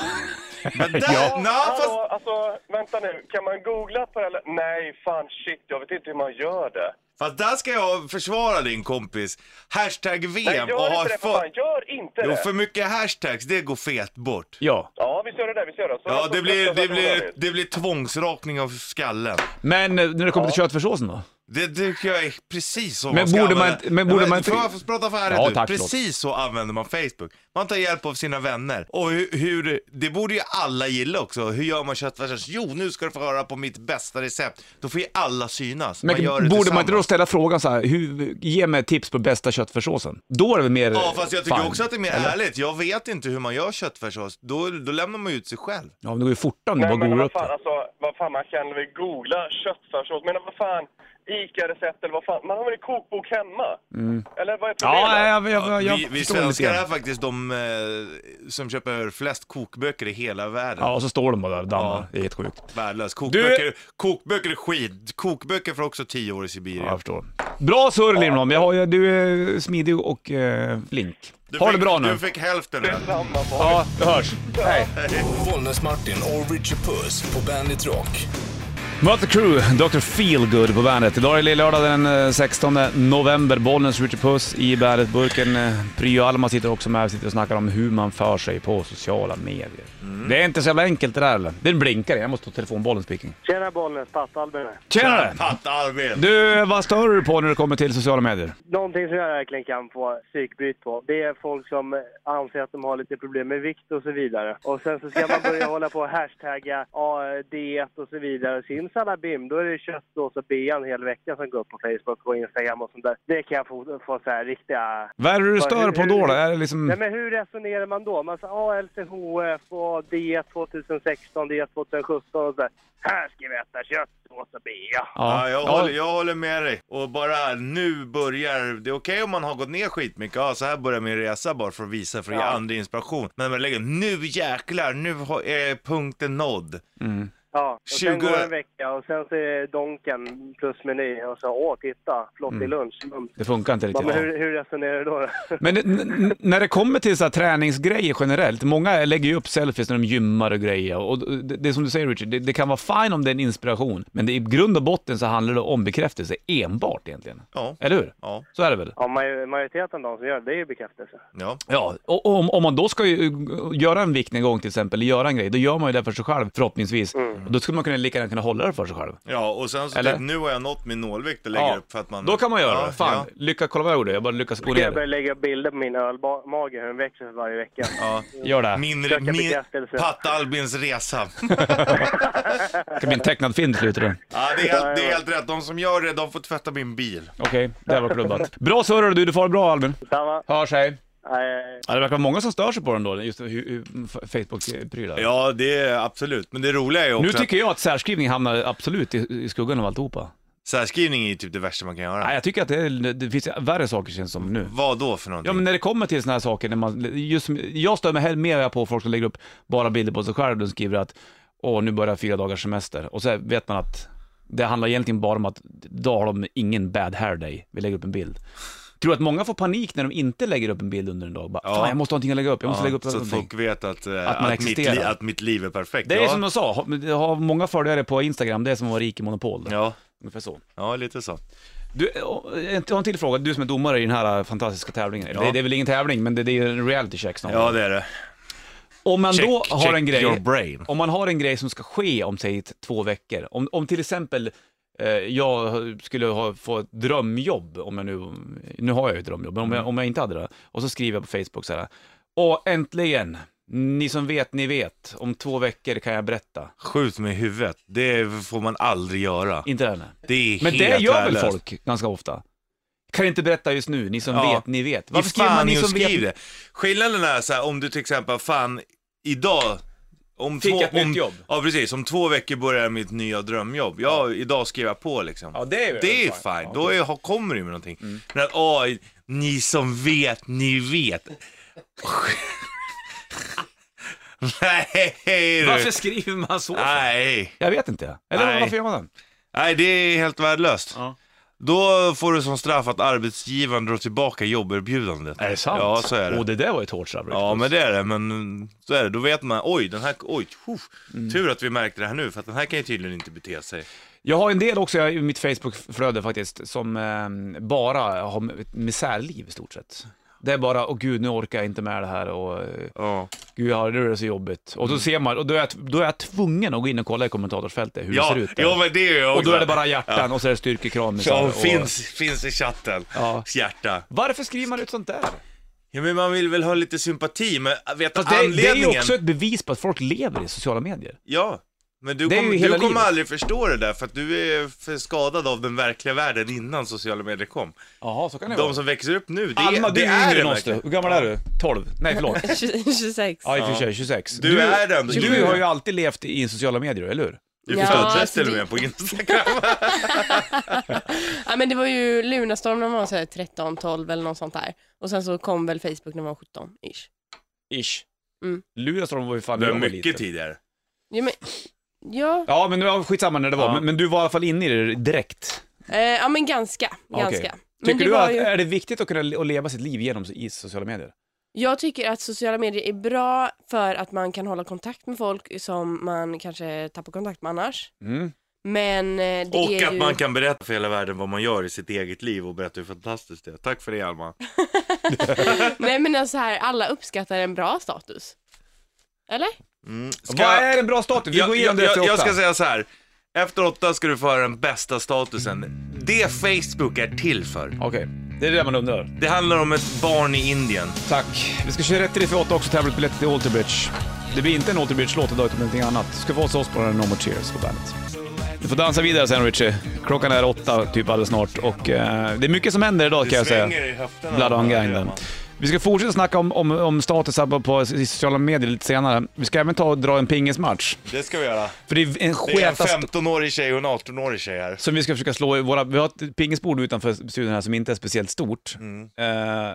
B: Men där,
A: Ja.
B: ja. na,
E: Hallå,
B: fast...
E: alltså vänta nu. Kan man googla på det eller? Nej, fan shit, jag vet inte hur man gör det.
B: fast där ska jag försvara din kompis. Hashtag
E: Nej,
B: VM och
E: gör
B: ha
E: inte det för fan.
B: för...
E: Gör inte
B: Jo,
E: det.
B: för mycket hashtags, det går fet bort.
A: ja.
E: Ja, vi gör det där, vi gör det. Så
B: Ja,
E: alltså,
B: det blir, det
E: fruktansvärt
B: blir,
E: onödigt.
B: det blir tvångsrakning av skallen.
A: Men eh, när det kommer till köttfärssåsen då?
B: Det tycker jag är precis så
A: Men
B: man ska
A: borde man
B: använda-
A: inte- men borde
B: Ja,
A: man inte-
B: Får jag få prata färdigt
A: Ja,
B: nu?
A: tack,
B: Precis så använder man Facebook. Man tar hjälp av sina vänner. Och hur, hur det borde ju alla gilla också. Hur gör man köttfärssås? Jo, nu ska du få höra på mitt bästa recept. Då får ju alla synas.
A: Men
B: man gör det
A: borde man inte då
B: tillsammans.
A: ställa frågan så här, hur, ge mig tips på bästa köttfärssåsen? Då är det väl mer...
B: Ja, fast jag tycker
A: fan.
B: också att det är mer ärligt. Jag vet inte hur man gör köttfärssås. Då, då lämnar man ut sig själv.
A: Ja, men det går ju fortare om du
E: Nej,
A: bara
E: men
A: googlar
E: vad
A: upp
E: fan,
A: det.
E: alltså, vad fan, man kan väl googla köttfärssås? Men vad fan, ICA-recept eller vad fan, man har väl en kokbok hemma? Eller vad är problemet?
A: Mm. Ja, jag, jag, jag, jag
B: vi vi
A: förstår lite
B: svenskar
A: grann.
B: är faktiskt de eh, som köper flest kokböcker i hela världen.
A: Ja, och så står de bara där och dammar. Det är helt sjukt.
B: Värdelös. Kokböcker, kokböcker är skit. Kokböcker får också tio år i Sibirien.
A: Ja, jag förstår. Bra surr Lindholm, Jag har- jag- du är smidig och eh, flink.
B: Du
A: ha
B: fick,
A: det bra nu.
B: Du fick hälften
E: Det är
B: rätt.
E: samma sak.
A: Ja, vi hörs. Hej.
F: Bollnäs-Martin och Richard Puss på Bandit Rock.
A: Möt the crew, Dr. Feelgood på bandet. Idag är det lördag den eh, 16 november. Bollnäs Richard Puss i bandet-burken. Eh, Pryo Alma sitter också med. Vi sitter och snackar om hur man för sig på sociala medier. Det är inte så jävla enkelt det där eller? Den blinkar igen. Jag måste ta telefonbollen speaking.
G: Tjena Bollnäs, Patt-Albin här.
A: Tjenare!
B: Pattarben.
A: Du, vad stör du på när det kommer till sociala medier?
G: Någonting som jag verkligen kan få psykbryt på, det är folk som anser att de har lite problem med vikt och så vidare. Och sen så ska man börja hålla på och hashtagga ja, diet och så vidare. Simsalabim, då är det köttsås och bea en hel vecka som går upp på Facebook och Instagram och sånt där. Det kan jag få, få så här riktiga...
A: Vad är det du stör på då? då? Är det liksom...
G: Nej men hur resonerar man då? Man säger ja, LCHF och diet 2016, diet 2017 och så här. Här ska vi äta köttsås och bea.
B: Ja, jag, Håller, jag håller med dig. Och bara nu börjar... Det är okej om man har gått ner skitmycket. Ja, så här börjar min resa bara för att visa för att ge andra inspiration. Men man lägger nu jäklar, nu har- är punkten nådd.
G: Ja, och sen
B: 20
G: går det en vecka och sen så är Donken plus meny och så åh titta, flottig lunch. Mm.
A: Det funkar inte
G: Ja,
A: riktigt.
G: men hur, hur resonerar du då?
A: Men n- n- när det kommer till så här träningsgrejer generellt, många lägger ju upp selfies när de gymmar och grejer. Och det, det är som du säger Richard, det, det kan vara fine om det är en inspiration, men det, i grund och botten så handlar det om bekräftelse enbart egentligen.
B: Ja.
A: Eller hur?
B: Ja.
A: Så är det väl?
G: ja, maj- majoriteten av de som gör det, det är ju bekräftelse.
B: Ja.
A: Ja, och och om, om man då ska ju eh, göra en viktnedgång till exempel, eller göra en grej, då gör man ju det för sig själv förhoppningsvis.
B: Mm.
A: Och då skulle man kunna lika gärna kunna hålla det för sig själv.
B: Ja, och sen så
A: Eller?
B: typ, nu har jag nått min nålvikt och lägger upp för att man...
A: Då kan man göra
B: ja,
A: det. Fan, lycka, kolla vad jag gjorde, jag bara lyckas gå
G: Ska jag börja
A: ner.
G: lägga upp bilder på min ölmage, hur den växer för varje vecka?
B: Ja,
A: Gör
B: ja.
A: det.
B: Min,
G: Söka
B: min
G: bekräftelse.
B: Patt-Albins resa.
A: Det kan bli en tecknad film till slut. tror jag.
B: Ja, det är, helt, det är helt rätt. De som gör det, de får tvätta min bil.
A: Okej, det här var klubbat. Bra surr du, du får ha det bra Albin.
G: Samma.
A: Hörs, hej.
G: Nej,
A: Ja, det verkar vara många som stör sig på den då, just hur, hur mm, Facebook-prylar.
B: Ja, det är absolut. Men det roliga är också
A: Nu tycker jag att särskrivning hamnar absolut i, i skuggan av alltihopa.
B: att särskrivning är ju typ det värsta man kan göra.
A: Nej, jag tycker att det, är, det finns värre saker känns som nu.
B: Vad då för någonting?
A: Ja men när det kommer till såna här saker, när man, just, som- jag stör mig hellre mer på folk som lägger upp bara bilder på sig själv och skriver att åh nu börjar fyra dagars semester och så här vet man att det handlar egentligen bara om att då har de ingen bad hair day, vi lägger upp en bild. Tror du att många får panik när de inte lägger upp en bild under en dag? Bara,
B: Ja.
A: Fan jag måste ha någonting att lägga upp, jag måste lägga upp
B: så att
A: någonting.
B: folk vet att, eh,
A: Att man
B: att, mitt,
A: existerar.
B: li- att mitt liv är perfekt.
A: Det är
B: ja.
A: som de sa, ha, ha många följare på Instagram, det är som att vara rik i monopol.
B: ja.
A: Ungefär så.
B: ja, lite så.
A: Du, eh, jag har en till fråga, du som är domare i den här eh, fantastiska tävlingen.
B: Ja.
A: Det, det är väl ingen tävling, men det, det är ju en reality check snarare.
B: Ja, det är det.
A: Om man
B: Check,
A: då har
B: check
A: en grej,
B: your brain.
A: om man har en grej som ska ske om säg t- två veckor, om, om till exempel eh, jag skulle ha, få ett drömjobb, om jag nu, nu har jag ju ett drömjobb, men om
B: Mm.
A: jag, om jag inte hade det, och så skriver jag på Facebook så här, och äntligen, ni som vet, ni vet, om två veckor kan jag berätta.
B: Skjut mig i huvudet. Det får man aldrig göra.
A: Inte det? här, nej.
B: Det är
A: Men
B: helt
A: det gör väl
B: värdelöst.
A: folk ganska ofta? Kan inte berätta just nu, ni som
B: Ja.
A: vet, ni vet.
B: Varför skriver man
A: ni
B: inte
A: som
B: skriv
A: vet?
B: det? Skillnaden är så här, om du till exempel, fan, idag... Om
A: Fick
B: två,
A: jag ett
B: om,
A: nytt jobb?
B: Ja, precis. Om två veckor börjar mitt nya drömjobb. Ja, idag skriver jag på liksom.
A: Ja, det är väl
B: Det är
A: fine.
B: fine.
A: Ja, Mm.
B: Då är, har- kommer du med någonting. Men att, åh, ni som vet, ni vet. Nej, du.
A: Varför skriver man så? för?
B: Nej.
A: Jag vet inte. Eller
B: Nej.
A: varför gör man det?
B: Nej, det är helt värdelöst.
A: Ja.
B: Då får du som straff att arbetsgivaren drar tillbaka jobberbjudandet.
A: Är det sant?
B: Ja, så är det.
A: Och det där var ju ett hårt straff.
B: Ja men det är det, men mm, så är det. Då vet man, oj den här, oj, tjoff.
A: Mm.
B: tur att vi märkte det här nu för att den här kan ju tydligen inte bete sig.
A: Jag har en del också i mitt Facebook-flöde faktiskt, som eh, bara har ett misärliv i stort sett. Det är bara, åh gud, nu orkar jag inte med det här och eh,
B: Ja,
A: gud, ja, nu är det så jobbigt. Och
B: Mm.
A: då ser man, och då är, jag, då är jag tvungen att gå in och kolla i kommentatorsfältet hur det
B: ja,
A: ser ut. där.
B: ja men det är ju också.
A: och då är det bara hjärtan och så är det styrkekramisar.
B: Som
A: och...
B: finns, finns i chatten.
A: Ja.
B: Hjärta.
A: Varför skriver man ut sånt där?
B: Ja men man vill väl ha lite sympati, men vet
A: Fast det, är- det är ju
B: anledningen.
A: också ett bevis på att folk lever i sociala medier.
B: Ja. Men du,
A: Det är
B: kom,
A: ju hela
B: du kommer
A: livet.
B: aldrig förstå det där för att du är för skadad av den verkliga världen innan sociala medier kom.
A: Jaha, så kan
B: De som växer upp nu, det,
A: Alma,
B: det
A: du
B: är
A: är yngre
B: den
A: än oss du.
B: verkligen.
A: Hur gammal är du? 12? Nej, förlåt.
D: 26.
A: Ja, i och för sig, 26.
B: Du är den.
A: Du,
B: Du-
A: har ju alltid levt i sociala medier, eller hur?
B: Du
D: Ja,
B: förstår inte, jag
D: alltså
B: ställer
D: det-
B: mig på Instagram.
D: Ja, men det var ju Lunarstorm när man var så här 13, 12 eller något sånt där. Och sen så kom väl Facebook när man var 17 ish.
A: Ish.
D: Mm.
A: Luleåstorm var ju fan
B: Det
A: när
B: var
A: jag var
B: mycket
A: liten.
B: tidigare.
D: Ja, men, ja.
A: Ja, men ja, skitsamma när det var.
B: Ja.
A: Men, men du var i alla fall inne i det direkt.
D: Eh, ja men ganska,
A: Okej.
D: ganska. Men
A: Tycker
D: det
A: du
D: var
A: att,
D: ju,
A: är det viktigt att kunna le- att leva sitt liv genom i sociala medier?
D: jag tycker att sociala medier är bra för att man kan hålla kontakt med folk som man kanske tappar kontakt med annars.
A: Mm.
D: Men eh, det
B: Och
D: är
B: att
D: ju...
B: man kan berätta för hela världen vad man gör i sitt eget liv och berätta hur fantastiskt det är. Tack för det Alma.
D: Nej men alltså här, alla uppskattar en bra status. Eller?
B: Mm.
A: Vad är en bra status? Vi
B: jag,
A: går igenom det
B: jag,
A: efter
B: jag, jag
A: åtta.
B: ska säga så här. Efter åtta ska du få höra den bästa statusen. Det Facebook är till för.
A: Okej, det är det man undrar.
B: Det handlar om ett barn i Indien.
A: Tack. Vi ska köra rätt till för åtta också, tävlingsbiljetter till Alterbridge. Det blir inte en Alterbridge-låt idag, utan någonting annat. Du ska få oss oss på den här No More Cheers på bandet. Du får dansa vidare sen, Richie. Klockan är åtta, typ alldeles snart. Och eh, det är mycket som händer idag kan jag säga.
B: i höfterna.
A: Blood on gang den. Vi ska fortsätta snacka om, om, om status här på, på i sociala medier lite senare. Vi ska även ta och dra en pingismatch.
B: Det ska vi göra.
A: För det är en
B: Det är en
A: sketast
B: 15-årig tjej och en 18-årig tjej här.
A: som vi ska försöka slå i våra... Vi har ett pingisbord utanför studion här som inte är speciellt stort. Eh,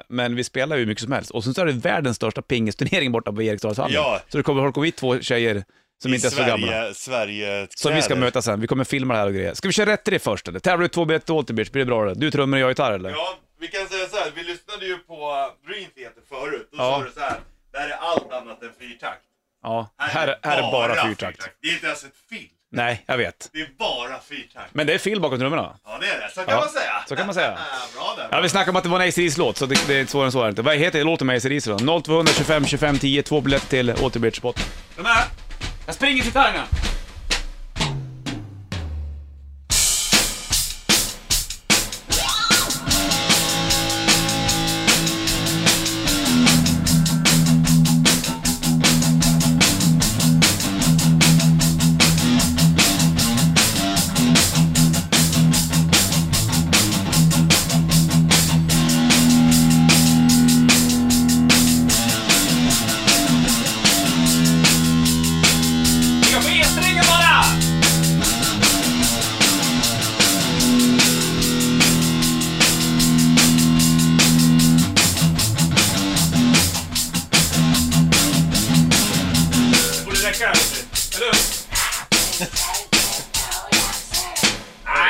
A: men vi spelar ju hur mycket som helst. Och sen så är det världens största pingisturnering borta på Eriksdalshallen.
B: Ja.
A: Så det kommer folk komma hit två tjejer som inte är så gamla.
B: Sverige
A: Som vi ska möta sen. Vi kommer filma det här och grejer. Ska vi köra rätt till det först eller? Tävlar du två biljetter till Alterbridge, blir det bra eller? Du trummor och jag gitarr eller?
B: Ja, vi kan säga så här. Vi lyssnade ju på Bryn Theater förut. Då
A: Ja.
B: sa du så här. Det här är allt annat än fyrtakt.
A: Ja. Här, här är bara fyrtakt.
B: Det är inte ens ett fil.
A: Nej, jag vet.
B: Det är bara fyrtakt.
A: Men det är Phil bakom trummorna.
B: Ja, det är det. Så kan
A: Ja,
B: man säga.
A: så kan man säga.
B: Bra där.
A: Ja, vi
B: bra.
A: snackade om att det var en ACDC-låt, så det, det är svårare än så är det inte. Vad heter låten med ACDC då? 0225 25 10, två biljetter till Alterbridge Spot. De här! Jag springer till gitarrerna!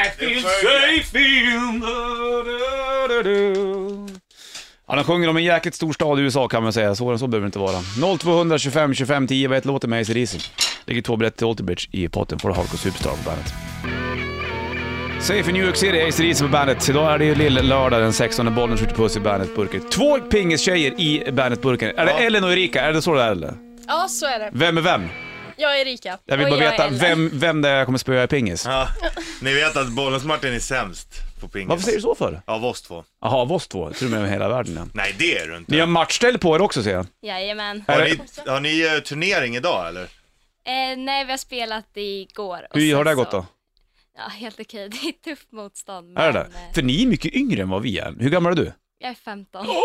A: I feel safe in the... Ja, de sjunger om en jäkligt stor stad i USA kan man säga, så, så behöver det inte vara. 0200 25 25 10, vad heter låten med AC Diesel? Ligger två biljetter till Alterbridge i potten, får du Hardcore Superstar på bandet. Safe in New York City, AC Diesel på bandet. Idag är det ju lill-lördag den 16, bollen skjuter puss i bandetburken. Två pingistjejer i bandetburken. Är det Ellen och Erika? Är det så det är eller?
H: Ja, så är det.
A: Vem är vem?
H: Jag är Erika.
A: Jag vill
H: Och
A: bara
H: är
A: veta
H: Ellen.
A: vem, vem det är jag kommer spöa i pingis.
I: Ja, ni vet att Bollnäs-Martin är sämst på pingis.
A: Varför säger du så för?
I: Av oss två.
A: Jaha, av oss två? Jag tror du med hela världen ja.
I: Nej, det är du inte.
A: Ni har matchställ på er också ser jag.
H: Jajamän.
A: Är
I: Har
A: det-
I: ni, har ni eh, turnering idag eller?
H: Eh, nej, vi har spelat igår. och
A: Hur har
H: sen
A: det
H: så-
A: gått då?
H: Ja, helt okej. Det är tufft motstånd.
A: Är det
H: men,
A: det?
H: eh,
A: För ni är mycket yngre än vad vi är. Hur gammal är du?
H: Jag är 15.
J: Och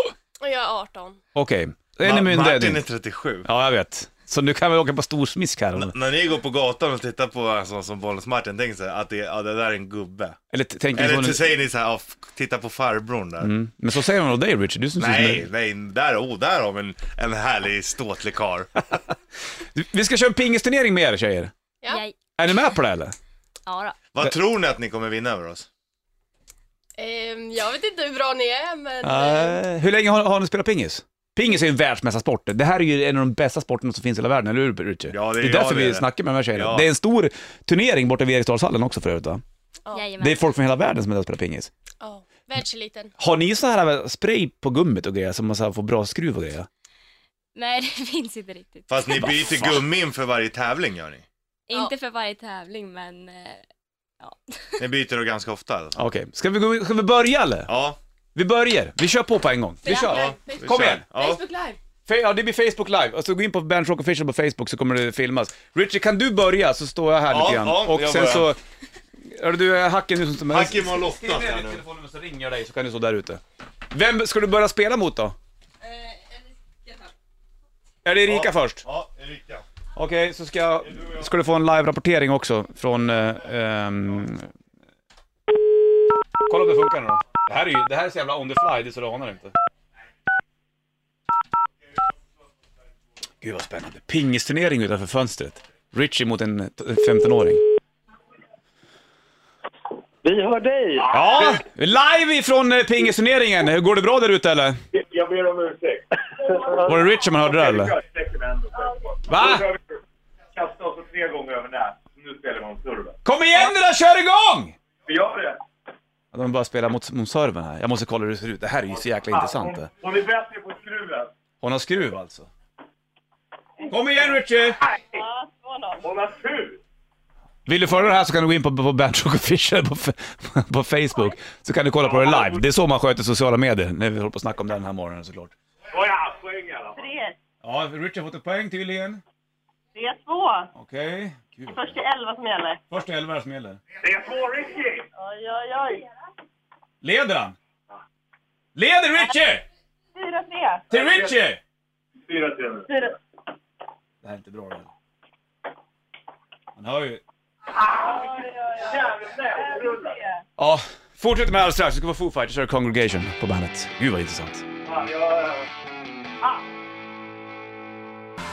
J: jag är 18.
A: Okej, en är
I: Ma-
A: myndig.
I: Martin är 37.
A: Ja, jag vet. Så nu kan vi åka på storsmisk här.
I: N- när ni går på gatan och tittar på en sån som Bollnäs-Martin, tänk så här att det, ja, det där är en gubbe.
A: Eller t- tänker
I: Eller
A: ni
I: så
A: så...
I: säger ni så här, "Ja, f- titta på farbrorn där.
A: Mm. Men så säger man om dig Richard, du som ser ut
I: Nej,
A: som
I: nej, där, oh, där har vi en, en härlig ståtlig karl.
A: Du- Vi ska köra en pingisturnering med er tjejer.
J: Ja.
H: Jag,
A: Är ni med på det eller?
H: ja då.
I: Vad tror ni att ni kommer vinna över oss?
H: Ehm, jag vet inte hur bra ni är, men... eh,
A: Nej. hur länge har, har ni spelat pingis? Pingis är ju en världsmästarsport. Det här är ju en av de bästa sporterna som finns i hela världen, eller hur Richard?
I: Ja, det
A: är
I: är-
A: därför
I: ja, det är
A: vi
I: det.
A: snackar med de här tjejerna.
I: Ja.
A: Det är en stor turnering borta vid Eriksdalshallen också för övrigt va?
H: Jajamän.
A: Det är folk från hela världen som är där och spelar pingis.
H: Oh, världseliten.
A: Har ni så här spray på gummit och grejer, som man så här får bra skruv och grejer?
H: Nej, det finns inte riktigt.
I: Fast ni byter gummi inför varje tävling gör ni.
H: Inte för varje tävling, men... eh, ja.
I: Ni byter då ganska ofta i alla fall.
A: Okej, ska, vi, gå- ska vi börja eller?
I: Ja,
A: Vi börjar, vi kör på på en gång. Vi kör.
I: ja. vi
A: Kom
I: kör.
A: igen.
I: Ja.
J: Live.
A: Fe- Ja, det blir Facebook live. Alltså gå in på Bernt Rock Official på Facebook så kommer det filmas. Richard, kan du börja så står jag här
I: Ja,
A: lite grann.
I: ja,
A: och
I: jag
A: sen så...
I: börjar.
A: Är det du eh, Hacken nu som...
I: Hacken var Lotta
A: Skriv ner
I: här
A: ditt
I: nu.
A: telefonnummer så ringer jag dig så kan du stå där ute. Vem ska du börja spela mot då? Är det Erika
I: Ja.
A: först?
I: Ja, Erika.
A: Okej, så ska, jag, ska du få en live-rapportering också från... Eh, ehm, Kolla om det funkar nu då. Det här är ju det här är så jävla on the fly, det är så du anar inte. Gud vad spännande. Pingisturnering utanför fönstret. Richie mot en t- 15-åring.
K: Vi hör dig!
A: Ja, live ifrån eh, pingisturneringen. Hur Går det bra där ute eller?
C: Jag ber om ursäkt.
A: Var det Richie man hörde där eller? Va?
C: Kasta oss tre gånger över nät. Nu spelar vi om serven.
A: Kom igen nu då, kör igång!
C: Vi gör det!
A: Ja, De bara spelar mot, mot servern här. Jag måste kolla hur det ser ut. Det här är ju så jäkla intressant. Det.
C: Hon är bättre på skruven.
A: Hon har skruv alltså. Kom igen Richie!
C: Hon har tur!
A: Vill du följa det här så kan du gå in på, på Bandrock Official på, f- på Facebook. Så kan du kolla på det live. Det är så man sköter sociala medier. När vi håller på att snacka om det den här morgonen såklart.
C: Nåja, poäng i alla fall.
A: Ja, Richie har fått en poäng tydligen.
D: Det är två.
A: Okej. Okay.
D: Först är elva som gäller.
A: Först är elva som gäller.
C: Det är två Ricky!
D: Oj, oj, oj.
A: Leder han? Leder Richie!
D: Fyra, tre.
A: Till Richie!
C: Fyra till nu.
D: Fyra.
A: Det här är inte bra det här. Han hör ju... Ja, fortsätt med det alldeles strax. Vi ska få Foo Fighters och Congregation på bandet. Gud vad intressant. Ah.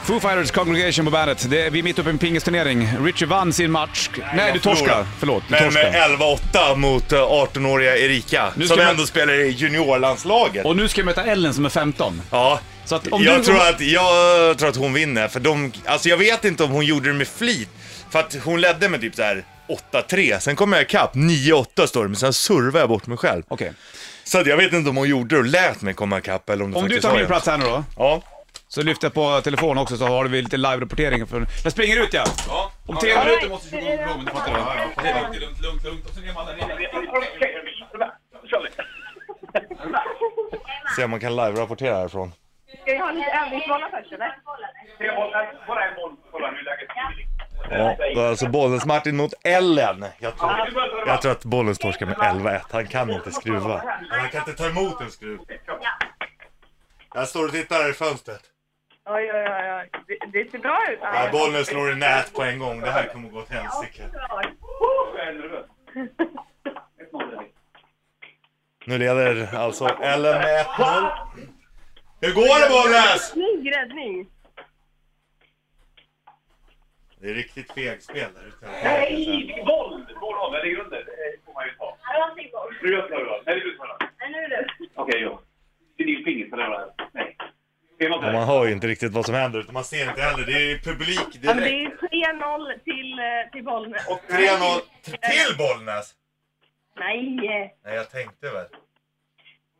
A: Foo Fighters Congregation på bandet. Det är, vi är mitt uppe i en pingisturnering. Richie vann sin match. Nej,
I: jag
A: du torskar.
I: förlorade.
A: Förlåt, du
I: Men
A: torskar.
I: med 11-8 mot eh, 18-åriga Erika,
A: Nu ska
I: som
A: man-
I: ändå spelar i juniorlandslaget.
A: Och nu ska jag möta Ellen som är 15.
I: Ja,
A: Så att om
I: jag,
A: du-
I: tror att, jag tror att hon vinner, för de, alltså jag vet inte om hon gjorde det med flit, för att hon ledde med typ så här 8-3, sen kom jag ikapp, 9-8 står det, men sen servade jag bort mig själv.
A: Okej.
I: Så att jag vet inte om hon gjorde det och lät mig komma ikapp eller om det
A: Om du
I: faktiskt
A: tar
I: var
A: min
I: jämnt.
A: plats här nu då,
I: Ja.
A: så lyfter jag på telefonen också så har vi lite live-rapportering. För... Jag springer ut ja. Om tre minuter måste vi gå igång, men du fattar väl? Det är lugnt, lugnt, lugnt, lugnt. Och sen är man där nere.
I: Se om man kan live-rapportera härifrån.
D: Ska vi ha lite övningsbollar först, eller?
C: Tre bollar, bara en boll. Kolla hur läget är.
I: Ja, då är alltså Bollnäs-Martin mot Ellen. Jag tror, jag tror att Bollnäs torskar med 11-1. Han kan inte skruva. Han kan inte ta emot en skruv. Jag står och tittar här i fönstret.
D: Oj, oj, oj. oj. Det, det ser bra ut.
I: Nej, bollen slår i nät på en gång. Det här kommer gå till helsike. Nu leder alltså Ellen med 1-0. Hur går det Bollnäs?
D: Snygg räddning.
I: Det är riktigt fegspel där ute.
C: Nej! Våld! Våld av, eller grunden. Det får man ju ta. Nu jag tar det, Nej, du tar det. Okej, ja. Det är din pingis, eller vad det är. Nej. Ser man
I: Och man hör ju inte riktigt vad som händer, utan man ser inte heller. Det är ju publik
L: Ja, men det är
I: direkt.
L: 3-0 till, eh, till Bollnäs.
I: Och 3-0 till Bollnäs!
L: Nej! eh,
I: Nej, jag tänkte väl.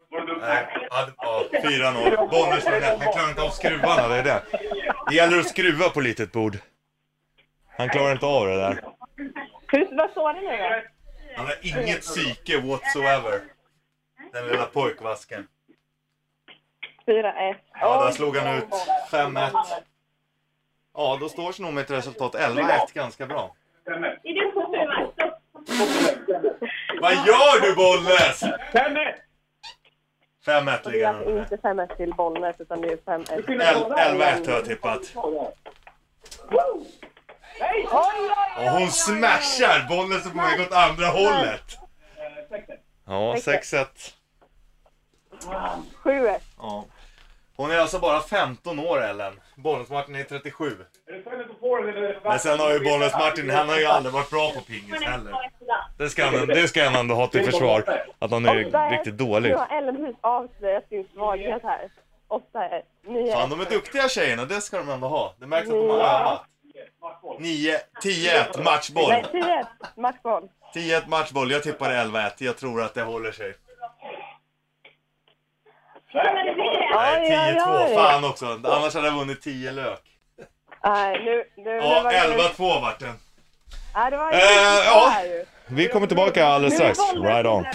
C: Var det dumt?
I: Nej, ja, ja, 4-0. Bollnäs slår rätt, men klarar inte av skruvarna. Det är det. Det gäller att skruva på litet bord. Han klarar inte av det där.
L: hur- Vad står det nu då?
I: Han har inget psyke whatsoever. Den lilla pojkvasken.
L: 4-1.
I: Ja, där slog han ut 5-1. Ja, då står sig nog med ett resultat 11-1 ganska bra.
L: Är du på sjuan?
I: Vad gör du Bollnäs?
C: Fem ett!
I: 5-1 ligger han under.
L: Inte 5-1 till Bollnäs, utan det är 5-1.
I: El- 11-1 har jag tippat. Och hon smashar! Bollen som på väg åt andra hållet. Ja, 6-1.
L: 7-1.
I: Ja. Hon är alltså bara 15 år Ellen. Bollnäs-Martin är 37. Men sen har ju Bollnäs-Martin, han har ju aldrig varit bra på pingis heller. Det ska han, det ska han ändå ha till försvar. Att han är riktigt dålig.
L: Nu har Ellen precis avslöjat sin svaghet här. 8-1. 9-1.
I: Fan, de är duktiga tjejerna, det ska de ändå ha. Det märks att de har övat. 9, 10-1 matchboll.
L: Nej, 10-1. Matchboll.
I: 10-1 matchboll, jag tippar 11-1. Jag tror att det håller sig. Nej, 10-2. Fan också. Annars hade jag vunnit 10 lök.
L: Nej, nu... nu det
I: Ja,
L: var-
I: 11-2 vart den.
L: Nej, det var
I: Eh,
L: ju... det
I: ja.
L: här ju.
I: Vi kommer tillbaka alldeles strax. Right on.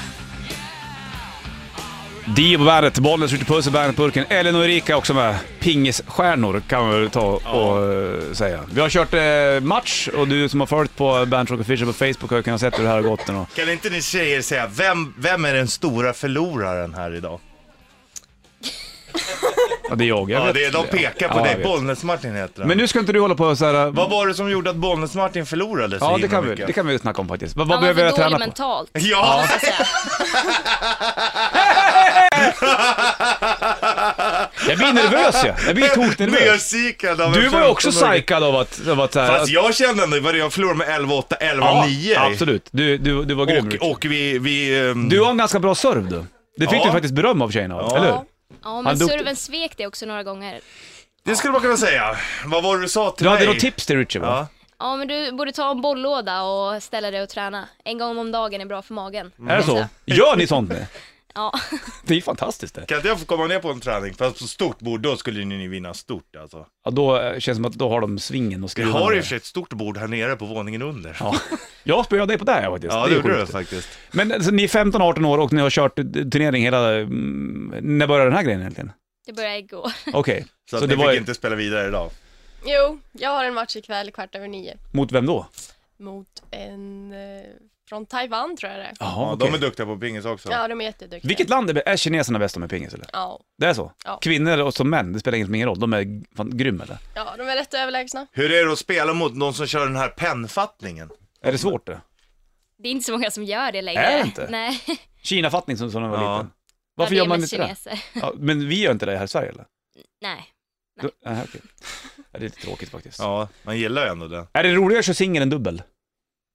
A: Dio på bandet, bollen skjuter puss i bandetburken. Ellen och Erika också med. Pingisstjärnor kan man väl ta och eh, säga. Vi har kört eh, match och du som har följt på Bandet Rock Official på Facebook har ju kunnat sett hur det här har gått. nu då.
I: Kan inte ni tjejer säga, vem, vem är den stora förloraren här idag?
A: Ja, det är jag. jag
I: Ja,
A: vet.
I: det är, de pekar på
A: Ja, jag
I: dig.
A: vet.
I: Bollnäs-Martin heter
A: Men
I: han.
A: nu ska inte du hålla på och så här... eh,
I: Vad var det som gjorde att Bollnäs-Martin förlorade så
A: Ja, det
I: himla
A: kan, vi,
I: mycket?
A: det kan vi snacka om faktiskt. Vad, vad
H: Han var
A: behöver
H: för
A: jag träna
H: dålig
A: på?
H: mentalt.
I: Ja!
H: Så att säga.
A: Jag blir nervös ju. Jag blir toknervös.
I: Nerpsykad av en
A: Du var ju också
I: 15-åring.
A: psykad av att... Av att så här,
I: Fast
A: att-
I: Alltså, jag kände ändå, vad det jag förlorade med 11-8, 11-9.
A: Ja, absolut. Du, du, du var grym. Rick.
I: Och, och vi... vi ehm,
A: Du har en ganska bra serv du. Det fick
I: Ja.
A: du faktiskt beröm av tjejerna,
I: Ja.
A: eller hur?
H: Ja,
A: Han
H: men
A: dog-
H: serven svek det också några gånger.
I: Det skulle man kunna säga. Vad var det du sa till
A: Du hade
I: mig?
A: något tips till Richard va?
I: Ja.
H: Ja, men du borde ta en bollåda och ställa dig och träna. En gång om dagen är bra för magen.
A: Är det så? Gör ni sånt nu?
H: Ja.
A: Det är ju fantastiskt det.
I: Kan inte jag få komma ner på en träning? Fast på stort bord, då skulle ni vinna stort alltså.
A: Ja, då eh, känns det som att då har de svingen och
I: Vi
A: skruvarna.
I: har i
A: där.
I: och för sig ett stort bord här nere på våningen under.
A: Ja. Jag spöade dig på det här faktiskt.
I: Ja,
A: är
I: det gjorde du
A: sjukt.
I: faktiskt.
A: Men alltså, ni är 15-18 år och ni har kört eh, turnering hela... mm, När började den här grejen egentligen?
H: Det började igår.
A: Okej.
I: Så,
A: Så
I: att
A: det
I: ni
A: var
I: fick
A: ju-
I: inte spela vidare idag.
D: Jo, jag har en match ikväll kvart över nio
A: Mot vem då?
D: mot en eh, från Taiwan tror jag det är.
A: Jaha,
I: Ja,
A: okej.
I: de är duktiga på pingis också.
D: Ja, de är jätteduktiga.
A: Vilket land är, är kineserna bäst med pingis eller?
D: Ja,
A: Det är så?
D: Ja.
A: Kvinnor och som män, det spelar ingen, ingen roll. De är g- fan grymma eller?
D: ja, de är rätt överlägsna.
I: Hur är det att spela mot någon som kör den här pennfattningen?
A: Är det svårt det?
H: Det är inte så många som gör det längre.
A: Är det inte?
H: Nej.
A: Kinafattning som, som när man var
I: Ja.
A: liten. Varför
H: Ja, det
A: gör
H: är
A: man
H: mest
A: inte det?
H: kineser.
A: Ja, men vi gör inte det här i Sverige eller?
H: Nej.
A: Då- aha, okej. Ja, det är lite tråkigt faktiskt.
I: Ja, man gillar ju ändå det.
A: Är det roligare att köra singel än dubbel?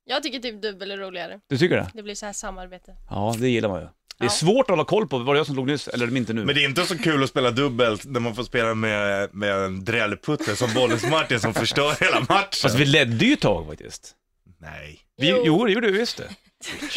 D: Jag tycker typ dubbel är roligare.
A: Du tycker det?
D: Det blir så här samarbete.
A: Ja, det gillar man ju. Det är
D: Ja.
A: svårt att hålla koll på, var det jag som slog nyss eller är det inte nu?
I: Men det är inte så kul att spela dubbelt när man får spela med, med en drällputte som Bollnäs-Martin som förstör hela matchen.
A: Fast vi ledde ju ett tag faktiskt.
I: Nej.
A: Vi, jo.
D: Jo.
A: det gjorde vi visst det.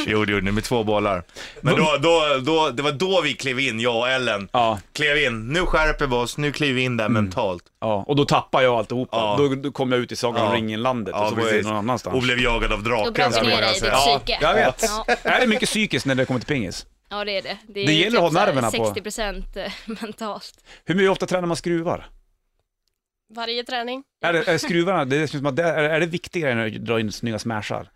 I: Jo, det gjorde ni med två bollar. Men då, då, då, det var då vi klev in, jag och Ellen.
A: Ja,
I: Klev in, nu skärper vi oss, nu kliver vi in där
A: Mm.
I: mentalt.
A: ja. och då tappade jag alltihopa.
I: Ja.
A: Då, då kom jag ut i Sagan om
I: Ja.
A: ringen-landet och så var jag någon annanstans.
I: Och blev jagad av
H: Då
I: draken.
H: brast du
I: skulle jag
H: ner dig i ditt
I: säga.
H: psyke.
A: Jag vet.
H: Ja,
A: Är det mycket psykiskt när det kommer till pingis?
H: ja, det är det. Det, är
A: Det gäller att ha
H: typ så här
A: nerverna på.
H: 60% mentalt.
A: Hur mycket ofta tränar man skruvar?
D: Varje träning.
A: Är det, är skruvarna, det känns som att det, är, är det viktigare än att dra in snygga smashar?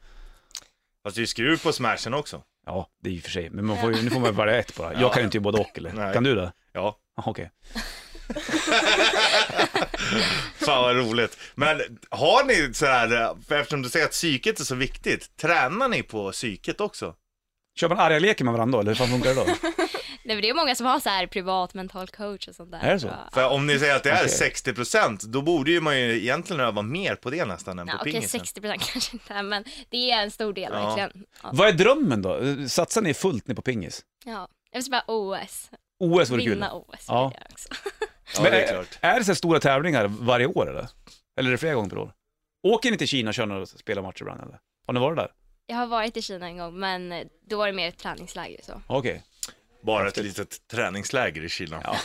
I: Fast det är ju skruv på smashen också.
A: Ja, det är ju för sig, men man får ju, nu får man ju välja ett bara. Jag kan ju inte göra både och eller?
I: Nej.
A: Kan du det?
I: Ja.
A: Ah, Okej.
I: Fan vad roligt. Men har ni så här, för eftersom du säger att psyket är så viktigt, tränar ni på psyket också?
A: Kör man arga leker med varandra då, eller hur fan funkar det då?
H: Nej, men det är många som har så här privat mental coach och sånt där.
A: Är det så?
H: tror jag.
B: För om ni säger att det är
A: Okej.
B: 60% då borde ju man ju egentligen öva mer på det nästan än
H: Ja,
B: på
H: Okej,
B: pingisen.
H: 60 procent kanske inte, men det är en stor del
B: Ja.
H: verkligen. Ja.
A: Vad är drömmen då? Satsar ni fullt ner på pingis?
H: Ja. Jag vill bara OS.
A: OS vore kul.
H: Vinna OS
A: Ja.
H: ja. jag också.
B: Ja,
A: Men
B: det är klart.
A: Är det så här stora tävlingar varje år eller? Eller är det flera gånger per år? Åker ni till Kina och kör några spelarmatcher ibland eller? Har ni varit där?
H: Jag har varit i Kina en gång, men då var det mer ett träningsläger så.
A: Okej.
B: Bara ett litet träningsläger i Kina. Ja,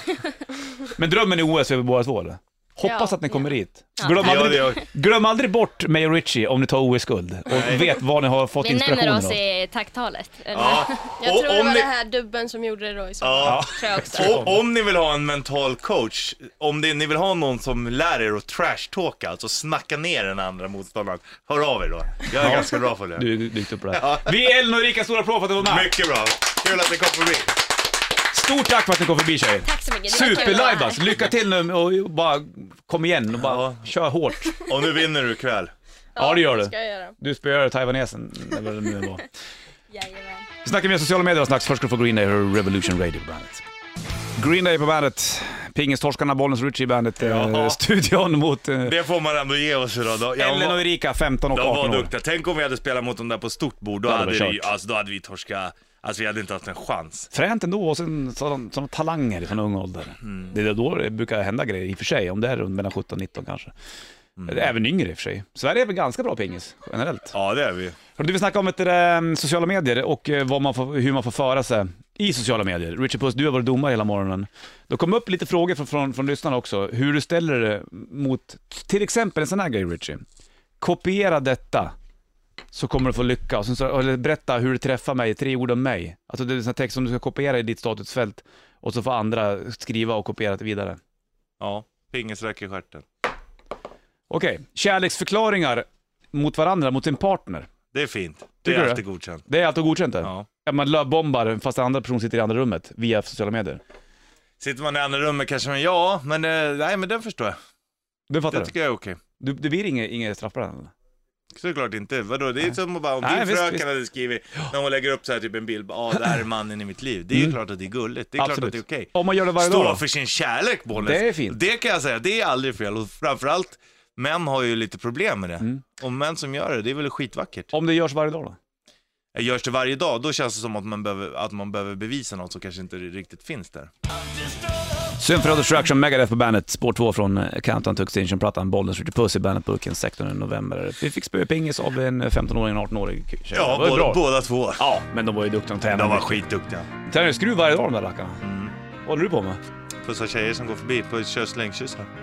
A: Men drömmen är OS över båda två eller? Hoppas
H: Ja,
A: att ni kommer dit.
H: Ja.
A: Glöm,
B: det
A: aldrig,
B: gör
A: glöm aldrig bort mig och Richie om ni tar OS-guld och vet var ni har fått
H: Vi nämner
A: inspirationen
H: oss
A: av.
H: i tacktalet. eller?
B: ja.
M: Jag
B: Och
M: tror det
B: om
M: var
B: ni-
M: den här dubben som gjorde det då i så fall.
B: Ja.
H: Tror jag också.
B: Och om ni vill ha en mental coach, om det, ni vill ha någon som lär er att trashtalka, alltså snacka ner den andra motståndaren, hör av er då. Jag är ganska bra på det.
A: Du är duktig på det här. Vi är Ellen och Rika stora proffs att du var med.
B: Mycket bra. Kul att ni kom förbi.
A: Stort tack för att ni kom förbi tjejer.
H: Tack så mycket. Det var kul att vara här.
A: Superlajbas! Lycka till nu och bara kom igen och bara
B: Ja.
A: kör hårt.
B: Och nu vinner du ikväll.
A: Ja, det gör du.
M: ska jag göra.
A: Du spöar taiwanesen, eller vad det nu var.
H: Jajamän.
A: Vi snackar mer sociala medier och snacks. Först ska du få Green Day och Revolution Radio på bandet. Green Day på bandet, Pingistorskarna, Bollnäs Ritchie i bandet, eh,
B: Ja.
A: studion mot eh,
B: Det får man ändå ge oss idag. Då- Jag
A: Ellen och
B: var,
A: Erika, 15 och
B: de
A: 18
B: var
A: år.
B: duktiga. Tänk om vi hade spelat mot dem där på stort bord, då,
A: Då hade
B: hade,
A: vi
B: vi,
A: kört.
B: alltså, då hade vi torskat, alltså vi hade inte haft en chans.
A: Fränt ändå och sen sådana, sådana talanger från ung ålder. Det är då det brukar hända grejer i och för sig, om det är runt mellan 17 och 19 kanske. Även yngre i och för sig. Sverige är väl ganska bra pingis, generellt.
B: Ja, det är vi.
A: Hörru, Du vill snacka om ett, eh, sociala medier och eh, vad man får, hur man får föra sig i sociala medier. Richard Puss, du har varit domare hela morgonen. Det kom upp lite frågor från, från, från lyssnarna också, hur du ställer dig mot till exempel en sån här grej Richie. Kopiera detta så kommer du få lycka. Och sen så, eller berätta hur du träffar mig, tre ord om mig. Alltså det är en sån här text som du ska kopiera i ditt statusfält och så får andra skriva och kopiera det vidare.
B: Ja, pingisräck i stjärten.
A: Okej, kärleksförklaringar mot varandra, mot sin partner.
B: Det är fint. Det
A: Tycker
B: är
A: du?
B: alltid godkänt.
A: Det är alltid godkänt det?
B: Ja.
A: Ja, man lövbombar fast den andra personen sitter i andra rummet via sociala medier.
B: Sitter man i andra rummet kanske man, ja, men eh, nej men den förstår jag.
A: Du fattar
B: Det
A: det?
B: tycker jag är okej.
A: Du, det blir inget, inget straff på den? eller?
B: Såklart inte. Vadå, det är som att bara, om
A: Nej,
B: din
A: visst,
B: fröken
A: visst.
B: hade skrivit, när hon lägger upp så här typ en bild, bara, ah, det här är mannen i mitt liv. Det är ju klart att det är gulligt, det är klart att det är okej.
A: Om man gör det Mm. varje
B: Stå
A: dag då?
B: för sin kärlek, Bollnäs.
A: Det är fint.
B: Det kan jag säga, det är aldrig fel. Och framförallt, män har ju lite problem med det. Och män som gör det, det är väl skitvackert.
A: Om det görs varje dag då?
B: Görs det varje dag, då känns det som att man behöver, att man behöver bevisa något som kanske inte riktigt finns där.
A: Symphony of Destruction, Megadeth på bandet, spår 2 från eh, Countdown to Extinction-plattan, Bollnäs Ritchie Puss i bandet-burken 16 november. Vi fick spö pingis av en eh, 15-åring och en 18-årig tjej.
B: Ja,
A: det var ju
B: båda,
A: bra.
B: båda två.
A: Ja, men de var ju duktiga, de tävlade.
B: De var Mm. skitduktiga.
A: Tävlar skruv varje dag de där rackarna. Vad håller du på med?
B: Pussar tjejer som går förbi, på kör slängkyssar.